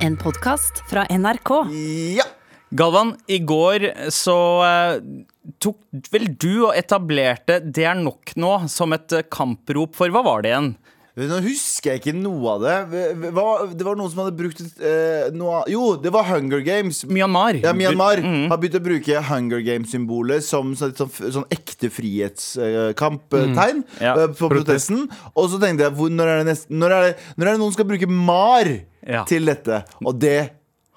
En podkast fra NRK. Ja. Galvan, i går så eh, tok vel du og etablerte 'Det er nok nå' som et eh, kamprop for hva var det igjen? Nå husker jeg ikke noe av det. Hva, det var noen som hadde brukt eh, noe av Jo, det var Hunger Games. Myanmar. Mm. Ja, Myanmar har begynt å bruke Hunger Games-symbolet som sånn, sånn, sånn ekte frihetskamptegn eh, Ja. på protesten. Og så tenkte jeg hvor, når, er det neste, når, er det, når er det noen skal bruke MAR Ja. til dette? Og det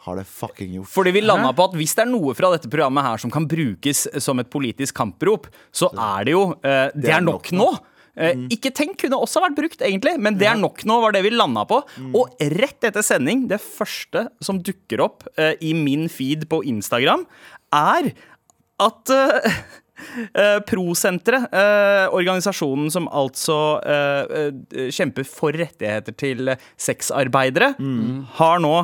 har det fucking gjort. Fordi vi landa på at hvis det er noe fra dette programmet her som kan brukes som et politisk kamprop, så er det jo eh, det, er nok, nå. Eh, Ikke tenk kunne også vært brukt, egentlig, men det er nok nå, var det vi landa på. Og rett etter sending, det første som dukker opp eh, i min feed på Instagram, er at eh, eh, Prosenteret, eh, organisasjonen som altså eh, eh, kjemper for rettigheter til eh, sexarbeidere, Mm. har nå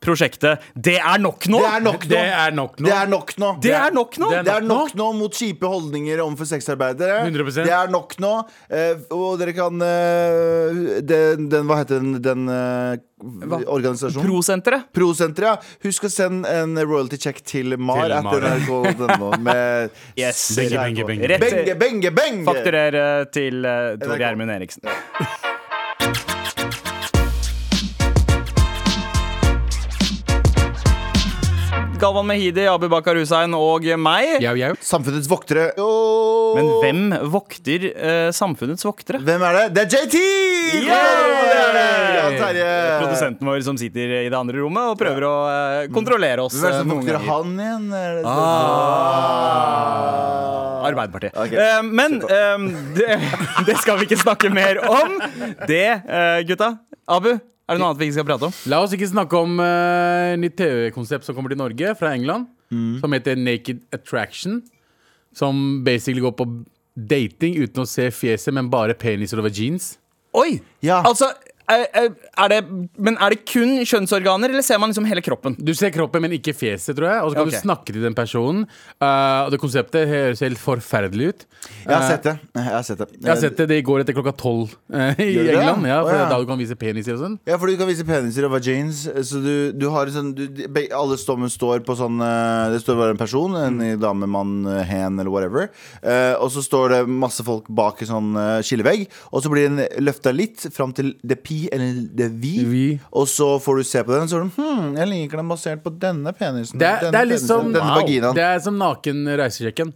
prosjektet Det er nok nå! Det er nok nå! Det er nok nå. Det er nok nå! Det er nok nå! Det Det er nok nå mot kjipe holdninger overfor sexarbeidere. 100%. Det er nok nå. Eh, og dere kan eh, den, den Hva heter den, den eh, organisasjonen? Prosenteret. Prosenteret. ja. Husk å sende en royalty check til Mar. Til Til Mar. NRK.no med Yes. Benge, benge, benge. Rett Benge, benge, benge! fakturer eh, til uh, Tor NRK. Gjermund Eriksen. Galvan Mehidi, Abubakar Hussein og meg. Jau, jau. Samfunnets voktere. Åh! Men hvem vokter eh, samfunnets voktere? Hvem er det? Det er JT! Ja, Terje. Produsenten vår som sitter i det andre rommet og prøver å eh, kontrollere oss. Hvem er det eh, som noen vokter ganger. han igjen? Er det- Arbeiderpartiet. Ok. Eh, men eh, det, det skal vi ikke snakke mer om. Det, eh, gutta. Abu, er det noe annet vi ikke skal prate om? La oss ikke snakke om eh, nytt TV-konsept som kommer til Norge fra England. Mm. Som heter Naked Attraction. Som basically går på dating uten å se fjeset, men bare peniser over jeans. Oi! Ja. Altså, er, er det, men er det kun kjønnsorganer, eller ser man liksom hele kroppen? Du ser kroppen, men ikke fjeset, tror jeg. Og så kan Ok. du snakke til den personen. Eh, og det konseptet høres helt forferdelig ut. Jeg har sett det. Jeg har sett det. Eh, Jeg har sett det, det går etter klokka tolv eh, i Gjør det? England. Ja, for Å, ja. det er da du kan vise peniser og sånn. Ja, for du kan vise peniser og vagines. Så du, du har sånn du, de- be- Alle stommene står på sånn eh, Det står bare en person, en Mm. dame, mann, eh, hen eller whatever. Eh, og så står det masse folk bak en sånn eh, skillevegg. Og så blir den løfta litt fram til the P eller the V. Vi. Og så får du se på den, og så er du hm, jeg liker den basert på denne penisen. Det er, denne det er litt penisen, som Denne vaginaen. Det er som naken reisesjekken.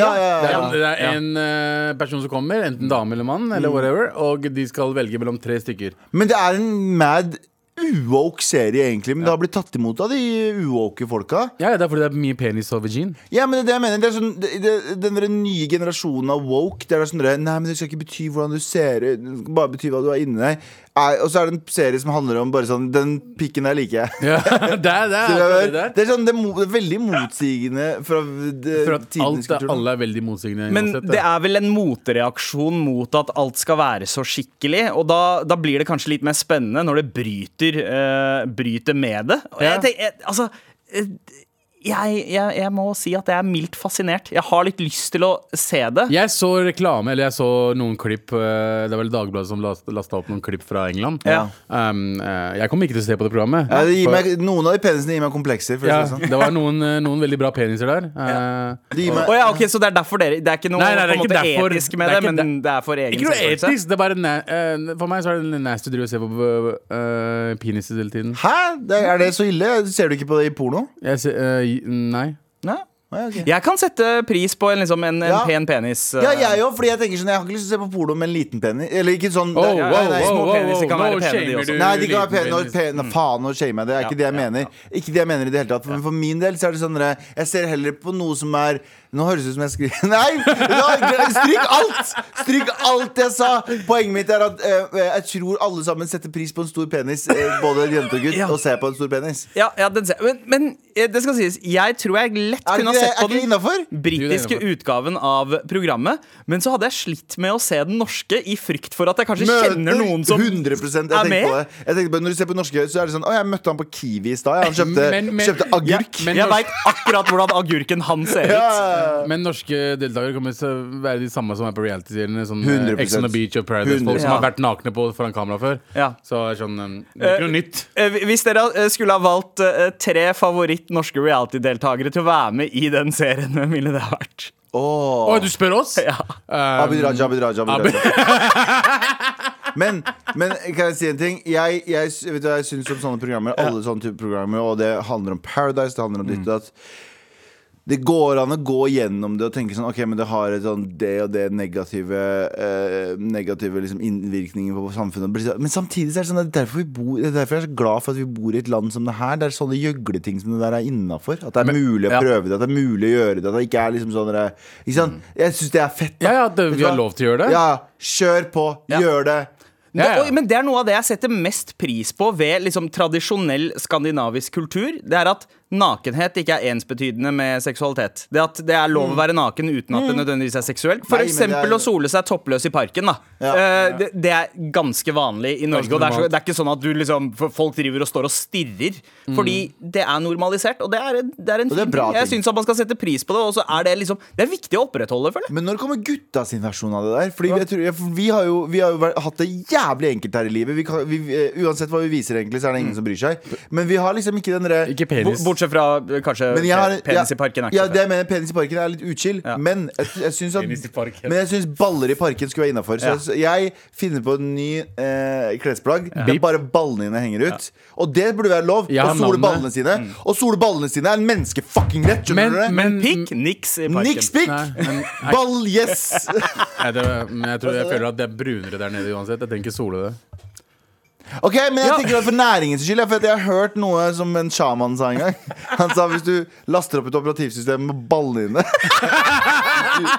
ja, ja, ja, Det ja. er, det er en eh, person som kommer, enten dame eller mann, eller whatever, og de skal velge mellom tre stykker. Men det er en mad uwoke serie, egentlig. Men det har blitt tatt imot av de uwoke folka. Ja, det er fordi det er mye penis og vagin. Ja, men det er det jeg mener. Det er sånn, det, det, den der nye generasjonen av woke Det er sånn der, Nei, men det skal ikke bety hvordan du ser ut, det skal bare bety hva du har inni deg. Er- Og så er det en serie som handler om bare sånn Den pikken der liker jeg. Ja, det er det. Det er, Er, det der. det er sånn, det er, mo, det er veldig motsigende fra det- For at tidenes alt er, kultur. alle er veldig motsigende. Men uansett, det da. er vel en motreaksjon mot at alt skal være så skikkelig. Og da, da blir det kanskje litt mer spennende når det bryter, eh, bryter med det. Og Ja. jeg, tenker, jeg, altså, eh, jeg, jeg, jeg må si at jeg er mildt fascinert. Jeg har litt lyst til å se det. Jeg så reklame, eller jeg så noen klipp eh, Det er vel Dagbladet som lasta opp noen klipp fra England. Ja. Um, eh, jeg kommer ikke til å se på det programmet. ja, det gir For- meg, Noen av de penisene gir meg komplekser. For ja, å si det sånn. det var noen, eh, noen veldig bra peniser der. Eh, det gir meg, Å ja, ok, Så det er derfor dere Det er ikke noe Nei, nei, det er på en ikke måte derfor. etisk med det, Det er ikke men det er for egen Ikke noe selvfølelse. etisk, det er bare na eh, For meg så er det nasty å drive og se på eh, peniser hele tiden. Hæ? Det, er det så ille? Ser du ikke på det i porno? Jeg ser, eh, nei. Nei. Nei, ok. Jeg kan sette pris på en, liksom, en, en Ja. pen penis. eh. Ja, jeg òg, fordi jeg tenker sånn Jeg har ikke lyst til å se på porno med en liten penis. Eller ikke sånn Oh, det- wow, nei, nei, wow, små wow, peniser kan wow, være nå pene, de shamer også. du Nei, de kan være liten pene og penis. Mm. pene. Faen, nå shamer jeg det. Det er ikke det jeg mener. Ikke det jeg mener i det hele tatt. Men for min del så er det sånn der, Jeg ser heller på noe som er Nå høres det ut som jeg skriver Nei! nå- Stryk alt! Stryk alt jeg sa! Poenget mitt er at eh, jeg tror alle sammen setter pris på en stor penis. eh, både jente og gutt. Ja. Og ser på en stor penis. Ja, ja, den ser. Men, men eh, det skal sies, jeg tror jeg lett Er ikke kunne ha det, er sett på ikke det den innafor? britiske Jo, det er utgaven av programmet. Men så hadde jeg slitt med å se den norske i frykt for at jeg kanskje kjenner noen som 100 jeg er tenkte med? på det. Jeg tenkte på, Når du ser på norske, så er det sånn Å, jeg møtte han på Kiwi i stad. ja. Han kjøpte, Men- men- kjøpte agurk. Ja, men Jeg norsk- veit akkurat hvordan agurken han ser ut. Ja, ja, ja. Men norske deltakere kommer til å være de samme som er på reality-seriene. Sånn 100%. eh, Ex on the Beach og Paradise Folk som Ja. har vært nakne på foran kamera før. Ja. Så er sånn eh, Det er ikke noe nytt. Eh, Hvis dere eh, skulle ha valgt eh, tre favoritt norske reality-deltakere til å være med i den serien, hvem ville det ha vært? Åh. Å, du spør oss? Ja. Um, Abid Raja, Abid Raja, Abid Raja. Men, men kan jeg si en ting? Jeg, jeg, s- vet du, hva jeg syns om sånne programmer, alle sånne type programmer, og det handler om Paradise, det handler om Mm. ditt og datt. Det går an å gå gjennom det og tenke sånn Ok, men det har et sånn det og det negative eh, Negative liksom innvirkninger på samfunnet. Men samtidig så er det sånn at derfor, vi bor, det er derfor jeg er så glad for at vi bor i et land som det her. Det er sånne gjøgleting som det der er innafor. At det er mulig å ja. prøve det, at det er mulig å gjøre det. At det ikke er liksom sånn der- Ikke sant? Jeg syns det er fett. da. Mm. Ja, ja, det, Vet du vi hva? har lov til å gjøre det. Ja, kjør på, Ja. gjør det Ja, ja. Det, oi, men det er noe av det jeg setter mest pris på ved liksom, tradisjonell skandinavisk kultur. Det er at nakenhet ikke er ensbetydende med seksualitet. Det at det er lov å være naken uten at det nødvendigvis er seksuelt. For Mm. Nei, men det er- eksempel å sole seg toppløs i parken. Da. Ja. Eh, det, det er ganske vanlig i Norge. Ganske Og det er, så, normalt. det er ikke sånn at du liksom, for folk driver og står og stirrer. Fordi det er normalisert, og det er, en- det er en Mm. Og det er fin bra ting. Jeg ting. syns man skal sette pris på det, og så er det liksom Det er viktig å opprettholde, føler jeg. Men når kommer gutta sin versjon av det der? Fordi jeg tror, jeg, for vi har jo, vi har jo vært, hatt det jævlig enkelt her i livet vi kan, vi, eh, Uansett hva vi viser egentlig, så er det ingen som bryr seg Men vi har liksom ikke den der Ikke Bo- penis. Bortsett fra eh, kanskje men jeg har, penis i parken. er ja, ikke ja, så det jeg mener, penis i parken er litt utskill Ja. Men jeg, jeg syns at Penis i parken. Men jeg syns baller i parken skulle være innafor. Så Ja. jeg- så jeg finner på en ny eh, klesplagg der Beep. bare ballene dine henger ut. Og det burde være lov. Jeg har å sole navnet. ballene sine. Og sole ballene sine er en menneskefucking rett, skjønner Men- du det? Men Men- pikk, niks i parken. Niks pikk! Nei, men- Ball, yes! Nei, det, men jeg, tror, jeg føler at det er brunere der nede uansett. Jeg trenger ikke sole det. Ok, men jeg Ja. tenker det for næringens skyld. ja, For at jeg har hørt noe som en sjaman sa en gang. Han sa hvis du laster opp et operativsystem med ballene dine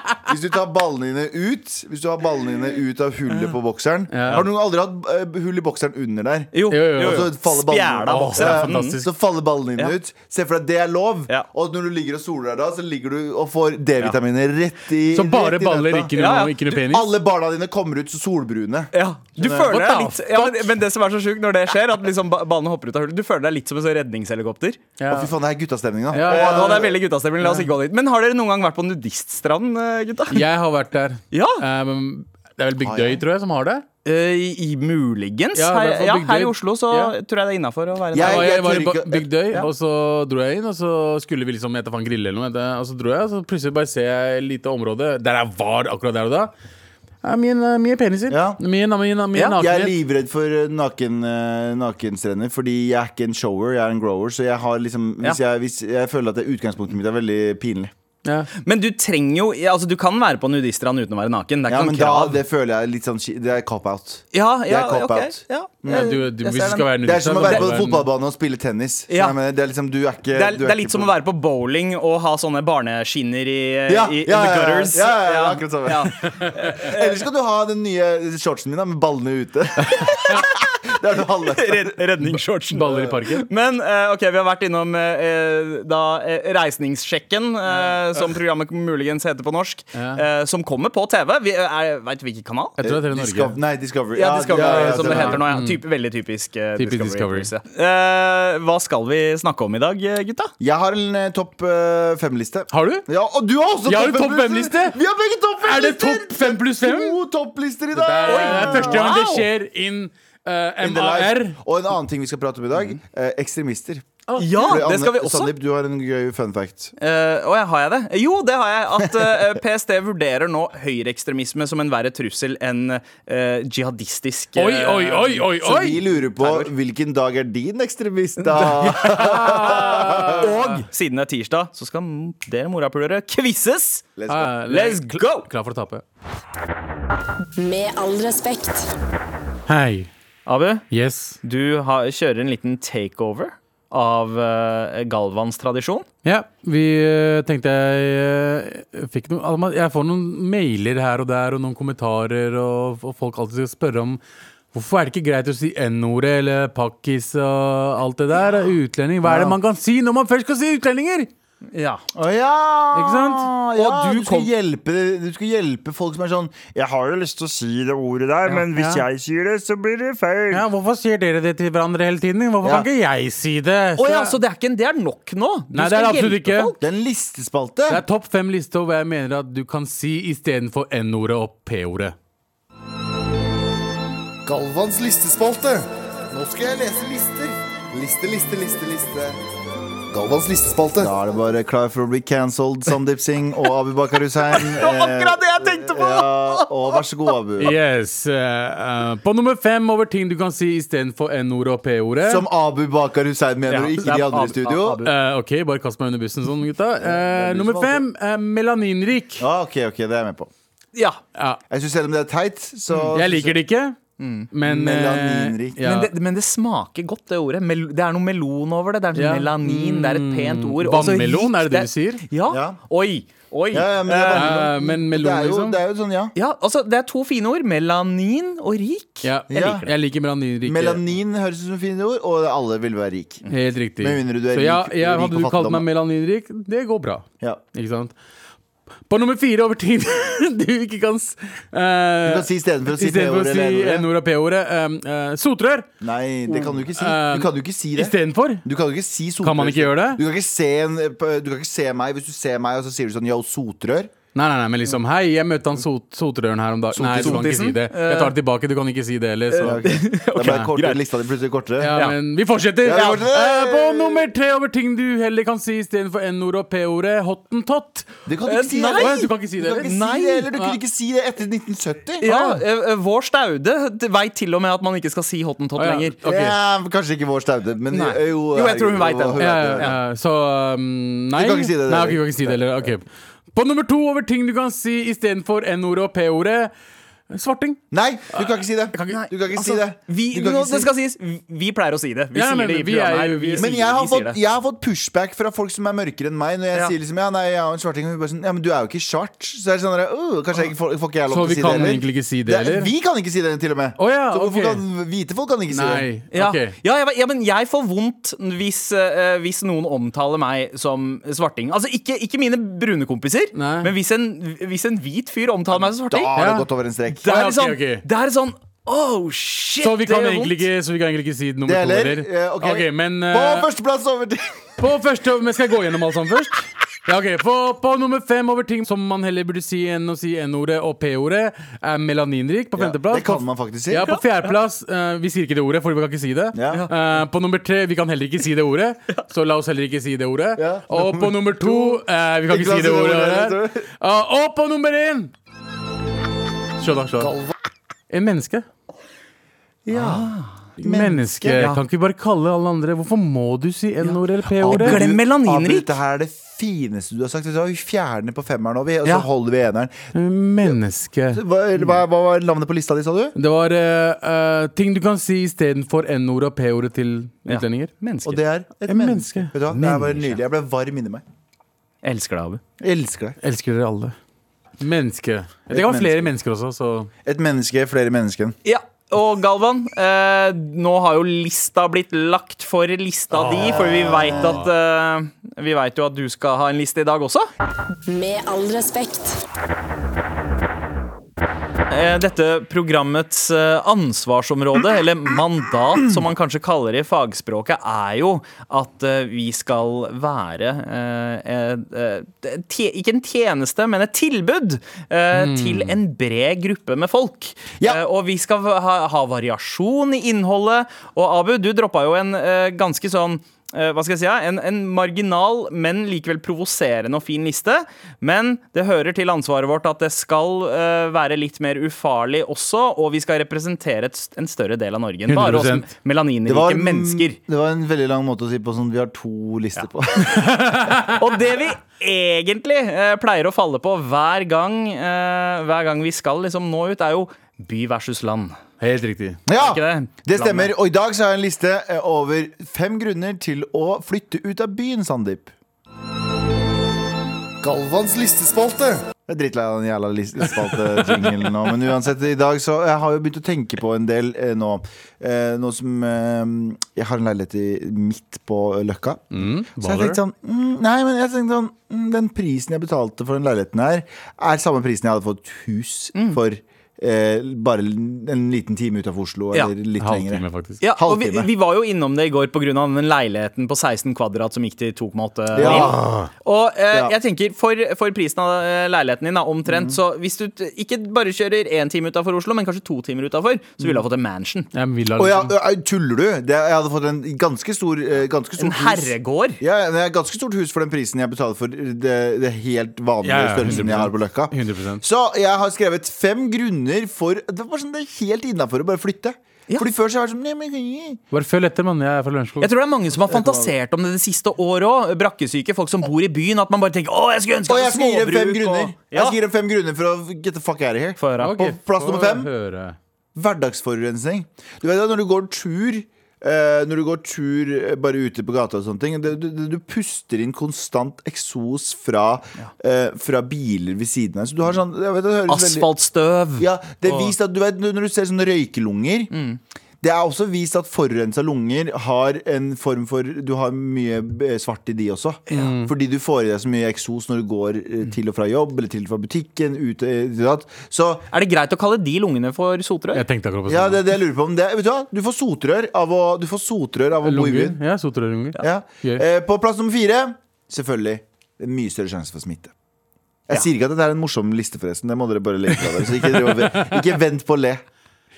Hvis du tar ballene dine ut Hvis du har ballene dine ut av hullet på bokseren Ja. Har noen aldri hatt eh, hull i bokseren under der? Jo, altså. Jo, jo, jo. Og så Altså, faller ballen Spjæla ut. bokser Ja, er fantastisk. fantastisk. Så faller ballene dine Ja. ut. Se for deg at det er lov. Ja. Og når du ligger og soler deg da, så ligger du og får D-vitaminer rett i Så bare rett i baller, nøtta. ikke Ja, noe, ja. Ikke noe Du- penis? Alle barna dine kommer ut så solbrune. Ja, du Skjønner. føler deg What litt the ja, men, men det som er så sjukt når det skjer, at liksom ba- ballene hopper ut av hullet, du føler deg litt som en sånn redningshelikopter. Ja. Å, fy faen, det er guttastemning, da. Ja, Og, ja, og det er veldig guttastemning. La oss ikke gå dit. Men har dere noen gang vært på nudiststrand, eh, gutta? Jeg har vært der. Ja. Um, det er vel Ah, Bygdøy, ja. tror jeg, som har det. Eh, i, i muligens. Ja, her, i hvert fall ja, Bygdøy. her i Oslo så Ja. tror jeg det er innafor å være Jeg- Og der. jeg, var tør i ikke- Ba- Bygdøy, og så dro jeg inn, og så skulle vi liksom jeg vet da faen grille eller noe. vet jeg. Og så dro jeg, og så plutselig bare ser jeg et lite område der jeg var akkurat der og da. Ja, min, eh, mye peniser. Ja. Mye, na- mye, na- mye Ja, Jeg er nakenhet. livredd for eh, naken, eh, nakenstrender, fordi jeg er ikke en shower, jeg er en grower. Så jeg har liksom Hvis, jeg, hvis jeg føler at det utgangspunktet mitt er veldig pinlig. Ja. Men du trenger jo ja, Altså, du kan være på nudiststrand uten å være naken. Det Ja, er ikke men noen da krav. det føler jeg er litt sånn shi- Det er cop-out. ja, ja, er cop ok, out. ja. Ja, Mm. du, du, Jeg hvis ser du skal den. være Det er som å nudist, være på så må du en- fotballbanen og spille tennis. Ja. Nei, men det er liksom, du er ikke Det er, du det er litt ikke som på- å være på bowling og ha sånne barneskinner i, eh, Ja, i, i ja, ja, the ja. gutters. Ja, ja, ja, akkurat samme. Ja. Ellers skal du ha den nye shortsen min da, med ballene ute. det er du halve. Red, redningsshortsen. Baller i parken. Men eh, ok, vi har vært innom eh, eh, da eh, Reisningssjekken, eh, som programmet muligens heter på norsk, Ja. eh, som kommer på TV. Vi, eh, er, vet du hvilken kanal? Jeg tror det er Norge. Discover, nei, Discovery. Ja, Discovery, som det er- heter nå. Ja. Typ, veldig typisk eh, Mm. Typisk Discovery. Discovery. Plus, ja. Eh, hva skal vi snakke om i dag, eh, gutta? Jeg har en eh, topp eh, fem-liste. Har du? Ja, og du har også Jeg har en topp fem-liste! fem-liste. Vi har begge topp Er det fem-lister! topp fem pluss fem? To topplister i Det dag! er eh, første gang det Wow! skjer in eh, In the MAR. life. Og en annen ting vi skal prate om i Mm. dag. Eh, ekstremister. Ah, Ja, Fordi Anne- det skal vi også. Sandeep, du har en gøy fun fact. Eh, Å, ja, har jeg det? Jo, det har jeg. At eh, PST vurderer nå høyreekstremisme som en verre trussel enn eh, jihadistisk eh, Oi, oi, oi, oi, Så vi oi! lurer på hvilken dag er din ekstremist, da? Og siden det er tirsdag, så skal dere morapulere quizzes! Let's go. Ah, Let's go! Klar for å tape. Med all respekt. Hei. Abu, Yes. du har, kjører en liten takeover av eh, Galvans tradisjon. Ja, vi eh, tenkte jeg eh, fikk noe Alma, Jeg får noen mailer her og der, og noen kommentarer, og, og folk alltid skal spørre om Hvorfor er det ikke greit å si N-ordet eller pakkis og alt det der? Utlending. Hva er det man kan si når man først skal si utlendinger? Ja. Å ja! Ikke sant? Ja, Og du du, skal kom- hjelpe, du skal hjelpe folk som er sånn Jeg har jo lyst til å si det ordet der, men hvis Ja. jeg sier det, så blir det feil. Ja, hvorfor sier dere det til hverandre hele tiden? Hvorfor Ja. kan ikke jeg si det? Å ja, så det er, ikke, en- det er nok nå? Du Nei, det er skal det absolutt hjelpe ikke. folk? Det er en listespalte. Det er topp fem-liste over hva jeg mener at du kan si istedenfor N-ordet og P-ordet. Galvans listespalte. Nå skal jeg lese lister. Liste, liste, liste, liste. Galvans listespalte. Da er det bare klar for å bli cancelled, Sandeep Singh og Abu Bakar Hussein. Eh, Akkurat det jeg tenkte på! Ja, og vær så god, Abu. Yes. eh, eh, på nummer fem over ting du kan si istedenfor N-ordet og P-ordet. Som Abu Bakar Hussein mener, Ja, og ikke det er de andre Abu- i studio. Abu. Eh, OK, bare kast meg under bussen sånn, gutta. Eh, du nummer som fem eh, melaninrik. Ja, ok, ok, det er jeg med på. Ja. Ja, Jeg synes Selv om det er teit, så Mm, jeg liker det ikke, men eh, Mm. Melaninrik. Ja. Men, det, men det smaker godt, det ordet. Mel det er noe melon over det. Det er sånn Ja. Mm. melanin, det er et pent ord. Og så Vannmelon, gikk er det det du sier? Ja. Ja. Oi. Oi. Ja, ja, men det, er vanlig. Eh, men melon, det, er jo, liksom? det er jo sånn, ja. Ja, altså Det er to fine ord. Melanin og rik. Ja. Jeg Ja. liker Jeg liker melaninrik. Melanin høres ut som fine ord, og alle vil være rik. Helt riktig. Med mindre du er Så ja, rik- jeg, rik hadde og du kalt fattigdom, meg da. melaninrik, det går bra. Ja. Ikke sant? På nummer fire over tid du ikke kan s- eh, Du kan si istedenfor å si istedenfor P-ordet eller N-ordet. N-ordet og P-ordet. eh, eh, sotrør Nei, det kan du ikke si. Eh, Du kan jo ikke si det. istedenfor. Du kan jo ikke si sotrør. Kan man ikke gjøre det? Du kan ikke, se en, du kan ikke se meg hvis du ser meg, og så sier du sånn yo, sotrør. Nei, nei, nei, men liksom Hei, jeg møtte han sot sotrøren her om dagen. Nei, du kan ikke si sotisen? det. Jeg tar det tilbake, du kan ikke si det heller. Så. Ja, ok. Da ble kortere, greit. lista di plutselig kortere. Ja, Ja. men vi fortsetter. Ja, vi fortsetter. Eh, på nummer tre over ting du heller kan si istedenfor N-ordet og P-ordet. Hottentott. Det kan du ikke si. Nei! heller. Du kan ikke si det, Du kan ikke eller? si det, Nei. eller du kunne ikke si det etter Ah, 1970. Ja, eh, eh, Vår staude veit til og med at man ikke skal si hottentott Å, Ah, ja. lenger. Ok. Ja, kanskje ikke vår staude, men Nei. jo Jo, jeg tror hun vet det. hun Ja, vet ja, ja. Så um, nei. Du kan ikke si det, Nei, Erik. ok, du kan ikke si det heller. Ok. På nummer to over ting du kan si istedenfor N-ordet og P-ordet. Svarting. Nei, du kan ikke si det. kan ikke- Du kan ikke Altså, si det. Vi, Du kan nå, ikke det si- skal sies, vi- vi pleier å si det. Vi Ja, sier men det i vi programmet er her. jo- vi Vi er- Men sier- jeg har, vi sier fått, det. jeg har fått pushback fra folk som er mørkere enn meg. Når jeg Ja. sier liksom, ja, nei, jeg er jo en svarting, og vi bare sånn, ja, men du er jo ikke svart. Så er det sånn, der, «Åh, kanskje jeg ikke får, får ikke jeg lov Så til å si vi det kan heller. egentlig ikke si det er- heller? Vi kan ikke si det til og med. Å ja, så hvorfor ok. kan hvite folk kan ikke si Nei. det? Ja. Ok. Ja, jeg, ja, men jeg får vondt hvis, eh, hvis noen omtaler meg som svarting. Altså ikke, ikke mine brune kompiser, Nei. men hvis en, hvis en hvit fyr omtaler meg Da som svarting, har det Ja. gått over en strek. det Ja, er ok, det sånn, ok. det er sånn Oh shit, Så vi, det kan gjør vondt. egentlig ikke, så vi kan egentlig ikke si nummer Det heller. to heller. Eh, ok. Ok, men På eh, førsteplass over til på første Men skal jeg gå gjennom alt sammen først? Ja, ok, på, på nummer fem over ting som man heller burde si enn å si N-ordet og P-ordet, er melaninrik på femteplass. Det kan man faktisk si. Ja, på fjerdeplass. eh, vi sier ikke det ordet, for vi kan ikke si det. Ja. Eh, på nummer tre, vi kan heller ikke si det ordet, så la oss heller ikke si det ordet. Ja. Og på nummer to, eh, vi kan ikke si det ordet. heller. Eh, og på nummer én Se da, se da. En menneske. Menneske. Menneske, ja. Kan ikke vi bare kalle alle andre Hvorfor må du si N-ordet eller P-ordet? Glem melaninrik. Dette her er det fineste du har sagt. Vet du hva, Vi fjerner på femmeren, og, vi, og så Ja. holder vi eneren. Menneske. Hva, hva, hva var navnet på lista di, sa du? Det var eh, eh, ting du kan si istedenfor N-ordet og P-ordet til Ja. utlendinger. Menneske. Og det er et En menneske. menneske. Vet du hva? Det er bare nydelig. Jeg ble varm inni meg. Jeg elsker deg, Abu. Jeg elsker deg. Elsker dere alle. Menneske. Det kan være flere mennesker også, så Et menneske, flere mennesker. Ja, og Galvan, eh, nå har jo lista blitt lagt for lista di, for vi veit at eh, Vi vet jo at du skal ha en liste i dag også. Med all respekt. Eh, dette programmets eh, ansvarsområde, eller mandat som man kanskje kaller det i fagspråket, er jo at eh, vi skal være eh, eh, eh, tje- Ikke en tjeneste, men et tilbud eh, til en bred gruppe med folk. Ja. Eh, og vi skal ha, ha variasjon i innholdet. Og Abu, du droppa jo en eh, ganske sånn eh, hva skal jeg si, ja? en, en marginal, men likevel provoserende og fin liste. Men det hører til ansvaret vårt at det skal eh, være litt mer ufarlig også, og vi skal representere et, s- en større del av Norge enn bare oss 100%. melaninrike mennesker. det var en veldig lang måte å si på sånn vi har to lister på. Og det vi egentlig eh, pleier å falle på hver gang, eh, hver gang vi skal liksom nå ut, er jo by versus land. Helt riktig. Ja, Er ikke det? det stemmer. Og i dag så har jeg en liste eh, over fem grunner til å flytte ut av byen, Sandeep. Galvans listespalte. Jeg er drittlei av den jævla listespaltejinglen nå. Men uansett, i dag så Jeg har jo begynt å tenke på en del eh, nå. Eh, nå som eh, Jeg har en leilighet i, midt på Løkka. så jeg baller. tenkte sånn mm, Nei, men jeg tenkte sånn mm, Den prisen jeg betalte for den leiligheten her, er samme prisen jeg hadde fått hus for. Eh, bare en liten time utafor Oslo, Ja. eller litt Halvtime, lenger. faktisk. Ja, og vi, Halvtime. vi var jo innom det i går pga. den leiligheten på 16 kvadrat som gikk til 2,8 mil. Ja. Og eh, Ja. Mhm. jeg tenker, for, for prisen av eh, leiligheten din, da, omtrent, så hvis du t- ikke bare kjører én time utafor Oslo, men kanskje to timer utafor, så Mhm. ville du ha fått en mansion. Jeg vil ha Å ja, liksom- ø- tuller du? Det, jeg hadde fått en ganske stor, eh, ganske stort En hus. herregård. Ja, ja, det er et ganske stort hus for den prisen jeg betaler for det, det helt vanlige Ja, ja, størrelsen jeg har på Løkka. 100%. Så jeg har skrevet fem grunner for Det var bare sånn, det er helt innafor å bare flytte. Ja. Fordi før så har jeg vært sånn nei, men, nei. Bare følg etter, mann. Jeg er fra Lørenskog. Jeg tror det er mange som har fantasert om det det siste året òg. Brakkesyke, folk som bor i byen. At man bare tenker 'Å, jeg skulle ønske Og jeg jeg hadde skal gi dem fem småbruk'. grunner. Og... Jeg Ja. skal gi dem fem grunner for å get the fuck out of here. Få høre. Ok, På plass få nummer fem. høre. Hverdagsforurensning. Du vet at når du går tur eh, når du går tur eh, bare ute på gata, og sånne ting du, du, du puster inn konstant eksos fra, eh, fra biler ved siden av. Så du har sånn jeg vet, det høres veldig- Asfaltstøv. Ja, det er Og- vist at du vet, Når du ser sånne røykelunger Det er også vist at forurensa lunger har en form for Du har mye eh, svart i de også. Fordi du får i deg så mye eksos når du går eh, til og fra jobb eller til og fra butikken. Ut, eh, til og fra. så Er det greit å kalle de lungene for sotrør? Jeg tenkte akkurat på ja, sånn. det er det jeg lurer på. Om det, vet du hva? Du får sotrør av å, du får sotrør av å bo i Lunger. byen. Ja, sotrørlunger. Ja. Gøy. Eh, på plass nummer fire, selvfølgelig. Det er mye større sjanse for smitte. Jeg sier ikke at dette er en morsom liste, forresten. Det må dere bare legge fra dere. Så ikke, drive og- ikke vent på å le.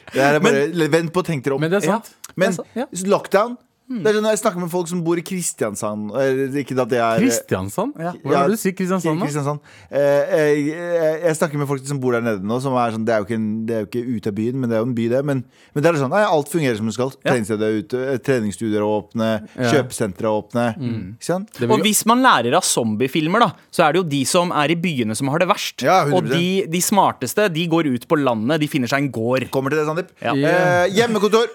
Det her er bare, vent på å tenke dere om. Men det er altså, sant. Men det er lockdown det er sånn, Jeg snakker med folk som bor i Kristiansand. eller Ikke at det er Kristiansand? Hvordan Ja, vil du si Kristiansand? da? Kristiansand. Eh, jeg, jeg, jeg snakker med folk som bor der nede nå. Som er sånn, det, er jo ikke en, det er jo ikke ute av byen, men det er jo en by, det. Men, men det er sånn, nei, alt fungerer som det skal. Treningssteder er ute, eh, treningsstudioer er åpne, kjøpesentre er åpne. Ikke sant? Mm. Det Og blir- hvis man lærer av zombiefilmer, da, så er det jo de som er i byene, som har det verst. Ja, 100%. og de, de smarteste, de går ut på landet, de finner seg en gård. Kommer til det, Sandeep. Ja. Eh, hjemmekontor!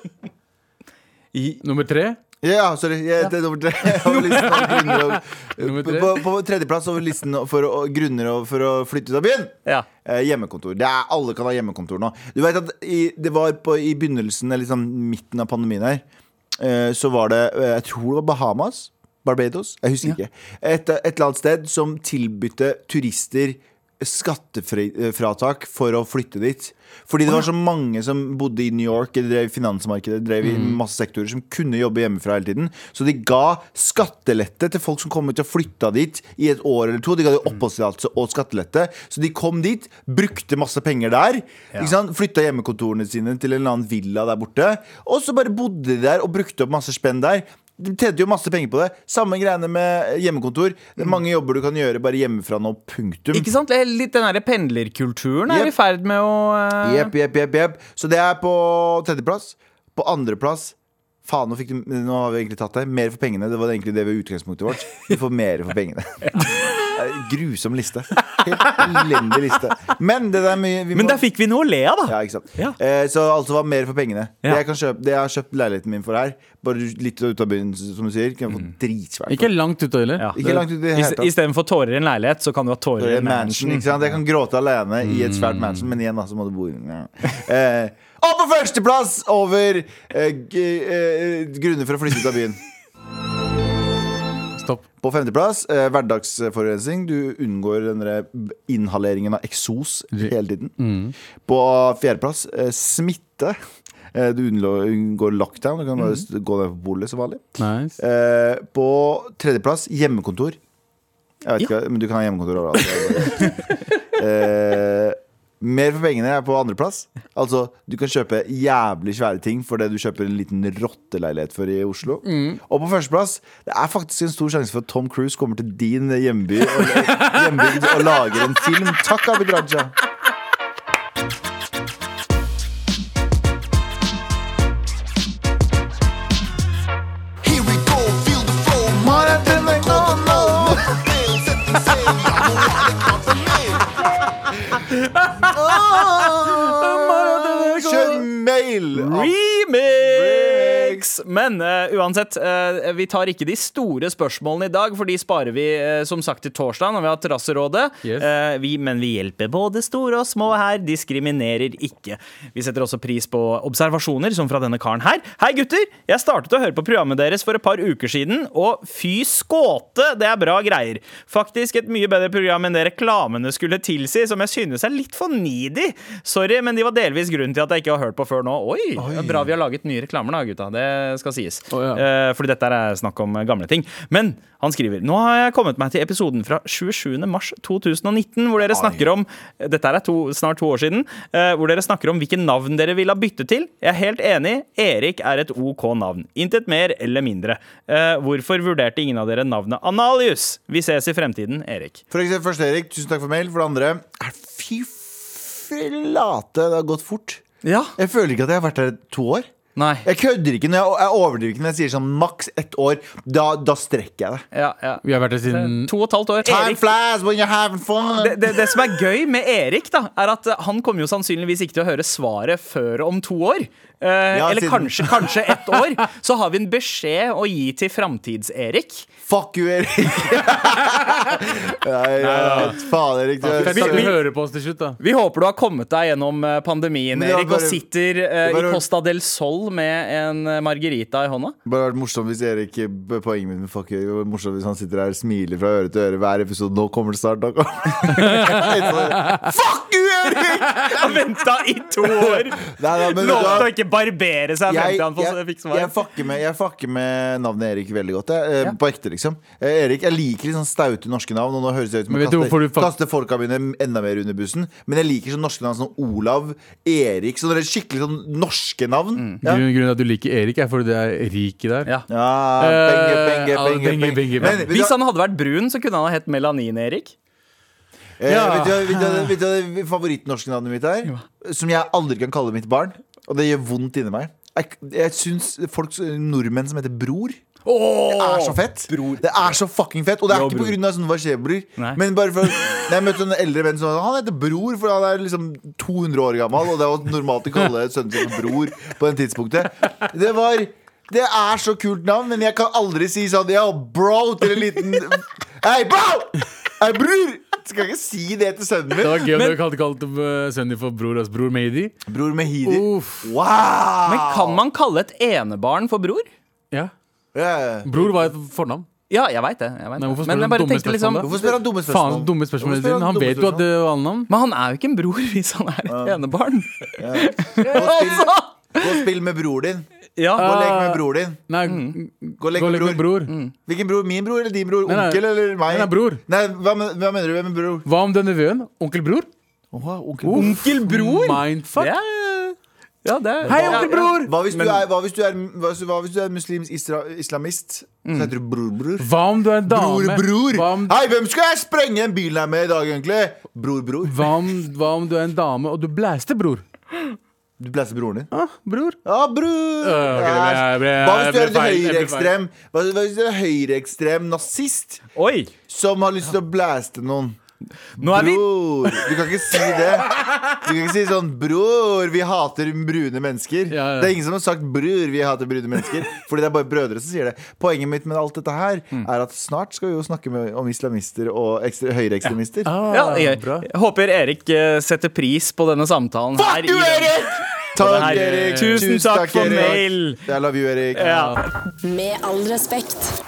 Nummer tre? Ja, sorry. Jeg, det er nummer tre. Over listen over grunner og- Nummer tre. På, på tredjeplass over listen for å, grunner og- for å flytte ut av byen. Ja. Eh, hjemmekontor. Det er, alle kan ha hjemmekontor nå. Du vet at i, Det var på, i begynnelsen, eller liksom midten av pandemien her, eh, så var det eh, Jeg tror det var Bahamas. Barbados. Jeg husker ikke. Et, et eller annet sted som tilbydte turister skattefratak for å flytte dit. Fordi det var så mange som bodde i New York, eller drev i finansmarkedet, drev i masse sektorer, som kunne jobbe hjemmefra hele tiden. Så de ga skattelette til folk som kom ut og flytta dit i et år eller to. De ga dem oppholdstillatelse og skattelette. Så de kom dit, brukte masse penger der. Ikke sant? Flytta hjemmekontorene sine til en eller annen villa der borte. Og så bare bodde de der og brukte opp masse spenn der. De tjente jo masse penger på det. Samme greiene med hjemmekontor. Det er mange jobber du kan gjøre bare hjemmefra nå, punktum. Ikke sant? Det er Litt den der pendlerkulturen er Jep. i ferd med å eh, Jepp, jepp, jepp, jepp. Så det er på tredjeplass. På andreplass Faen, nå, fikk du, nå har vi egentlig tatt det. Mer for pengene. Det var egentlig det vi utgangspunktet vårt. Vi får mer for pengene. Grusom liste. Helt elendig liste. Men det der mye vi Men må- der fikk vi noe å le av, da! ja, ikke sant? Ja. Eh, så altså var mer for pengene. Ja. Det, jeg kan kjøpe, det jeg har kjøpt leiligheten min for her, bare litt ut av byen, som du sier, kan jeg få Mm. dritsvært. Ikke langt ute heller. Ja. Ikke langt ut i det hele tatt. Istedenfor tårer i en leilighet, så kan du ha Det tårer i er en mansion, mansion. ikke sant? Mm. Jeg kan gråte alene i et svært mansion, men igjen, da, så må du bo i ja. eh, Og på førsteplass over eh, g eh, grunner for å flytte ut av byen. Stopp. På femteplass eh, hverdagsforurensning. Du unngår den der inhaleringen av eksos hele tiden. På fjerdeplass eh, smitte. Eh, du unnlå- unngår lockdown. Du kan bare s- gå ned på bolig som vanlig. Nice. Eh, på tredjeplass hjemmekontor. Jeg vet ikke, men du kan ha hjemmekontor overalt. eh, mer for pengene er på andreplass. Altså, du kan kjøpe jævlig svære ting for det du kjøper en liten rotteleilighet for i Oslo. Og på førsteplass, det er faktisk en stor sjanse for at Tom Cruise kommer til din hjemby og, hjembygd og lager en film. Takk, Abid Raja. Here we go, feel the flow. Kjør mail! Remix! Men eh, uansett, eh, vi tar ikke de store spørsmålene i dag, for de sparer vi eh, som sagt til torsdag når vi har Terrasserådet. Yes. Eh, vi, men vi hjelper både store og små her. Diskriminerer ikke. Vi setter også pris på observasjoner, som fra denne karen her. Hei, gutter! Jeg startet å høre på programmet deres for et par uker siden, og fy skåte, det er bra greier. Faktisk et mye bedre program enn det reklamene skulle tilsi, som jeg synes er litt for needy. Sorry, men de var delvis grunnen til at jeg ikke har hørt på før nå. Oi, det er bra vi har laget nye reklamer da, gutta. Det skal sies. Å, ja. Eh, fordi dette her er snakk om eh, gamle ting. Men han skriver Nå har jeg kommet meg til episoden fra 27. mars 2019, hvor dere snakker om Dette her er to, snart to år siden. eh, hvor dere snakker om hvilke navn dere ville ha byttet til. Jeg er helt enig. Erik er et OK navn. Intet mer eller mindre. Eh, hvorfor vurderte ingen av dere navnet Analius? Vi ses i fremtiden, Erik. For eksempel først Erik, tusen takk for mail. For det andre eh, Fy flate, det har gått fort. Ja. Jeg føler ikke at jeg har vært her to år. Nei. Jeg kødder ikke når jeg, jeg overdriver ikke når jeg sier sånn maks ett år. Da, da strekker jeg det. Ja, ja. Vi har vært her siden To og et halvt år. Time flies when you're having fun. det, det, det som er gøy med Erik, da er at eh, han kommer jo sannsynligvis ikke til å høre svaret før om to år. Eh, Ja, eller siden- kanskje, kanskje ett år. Så har vi en beskjed å gi til Framtids-Erik. Fuck you, Erik. Nei, ja, faen, Erik. Du er Fett at søren. du hører på oss til slutt, da. Vi håper du har kommet deg gjennom eh, pandemien Men det var Erik, og bare- sitter eh, det var- i Costa del Sol med en eh, margarita i hånda. bare vært morsomt hvis Erik eh, Poenget mitt med fuck you det hadde vært morsomt hvis han sitter her og smiler fra øre til øre hver episode. Nå kommer det snart. Nå kommer det. fuck you, Erik! Han venta i to år! Nei, nei, men vet du hva? Lovte å ikke barbere seg frem jeg, til han får- jeg, fikk jeg, svar. fucker med, jeg fucker med navnet Erik veldig godt. Jeg, eh, På ekte, liksom. Eh, Erik, Jeg liker litt sånn staute norske navn. Og nå høres jeg ut som Men jeg vet du hvorfor kaster, du fak- kaster folka mine enda mer under bussen. Men jeg liker sånn norske navn som Olav, Erik Sånne der skikkelig sånn norske navn. Ja. Grunnen, grunnen til at Mm. du liker Erik, er fordi det er rik i der. Ja. Ja, penge, Eh, penge, alle penge, Men penger, penger, penger. vet du Hvis hva- han hadde vært brun, så kunne han ha hett Melanin-Erik. eh, Ja. vet du hva- vet du hva- vet du hva det favorittnorske navnet mitt er? Som jeg aldri kan kalle mitt barn. Og det gjør vondt inni meg. Jeg, jeg syns folk, nordmenn som heter Bror Det er så fett. Det er så fucking fett. Og det er Bro, ikke bror. pga. sånn hva skjer, bror. Nei. Men bare for Når jeg møtte en eldre venn som Han heter Bror, for han er liksom 200 år gammel, og det var normalt å kalle sønnen sin for Bror på det tidspunktet. Det var Det er så kult navn, men jeg kan aldri si sånn Ja, bro til en liten Hei, bro! Hei, bror! Skal ikke si det til sønnen Det min. var gøy om du kalte, kalte eh, sønnen din for bror hans. Bror Mehdi. Bror Mehidi. Uff. Wow! Men Ah. kan man kalle et enebarn for bror? Ja. Ja. Bror var et fornavn. Ja, jeg veit det. Jeg vet Nei, det. hvorfor spør Men du jeg bare dumme tenkte liksom spørsmål da? Hvorfor spør han dumme spørsmål? Faen, dumme Hvorfor spørsmål spør dine. Han dumme vet jo spørsmål? at det var navn. Men han er jo ikke en bror hvis han er et enebarn. Gå og spill- Altså! Uh, Gå og spill med bror din. Ja. Gå og lek med bror din. Nei, Mm. Gå og lek med bror. bror. Hvilken bror? Min bror eller din bror? nei. Onkel eller meg? Nei, nei, bror. Nei, hva, men- hva mener du? Hvem er bror? Hva om den nevøen? Onkel Bror? Onkel Bror? Mindfuck. Ja, ja, det er Hei, onkel Bror! Hva hvis, du er, hva, hvis du er, hva, hvis- hva hvis du er muslims isra, islamist? Så heter du bror-bror. Hva om du er en dame? Bror-bror. Hva om, Hei, hvem skal jeg sprenge den bilen her med i dag, egentlig? Bror-bror. hva, om, hva om du er en dame og du blæster bror? Du blæser broren din. Ah, bror. Ja, bror! Øh, ok, jeg ble- jeg Hva hvis du ble er en feil, jeg ble feil. høyreekstrem Hva hva hvis du er en høyreekstrem nazist Oi! som har lyst til å blæste noen? Nå er vi Bror! Du kan ikke si det. Du kan ikke si sånn 'Bror, vi hater brune mennesker'. Ja, ja. Det er ingen som har sagt 'bror, vi hater brune mennesker'. Fordi det er bare brødre som sier det. Poenget mitt med alt dette her Mm. er at snart skal vi jo snakke med, om islamister og ekstre, høyreekstremister. ja, jeg, jeg håper Erik eh, setter pris på denne samtalen her. Fuck you, i den- Erik! det Takk, her- Erik. Tusen takk for Erik. mail. I love you, Erik. Ja. Med all respekt.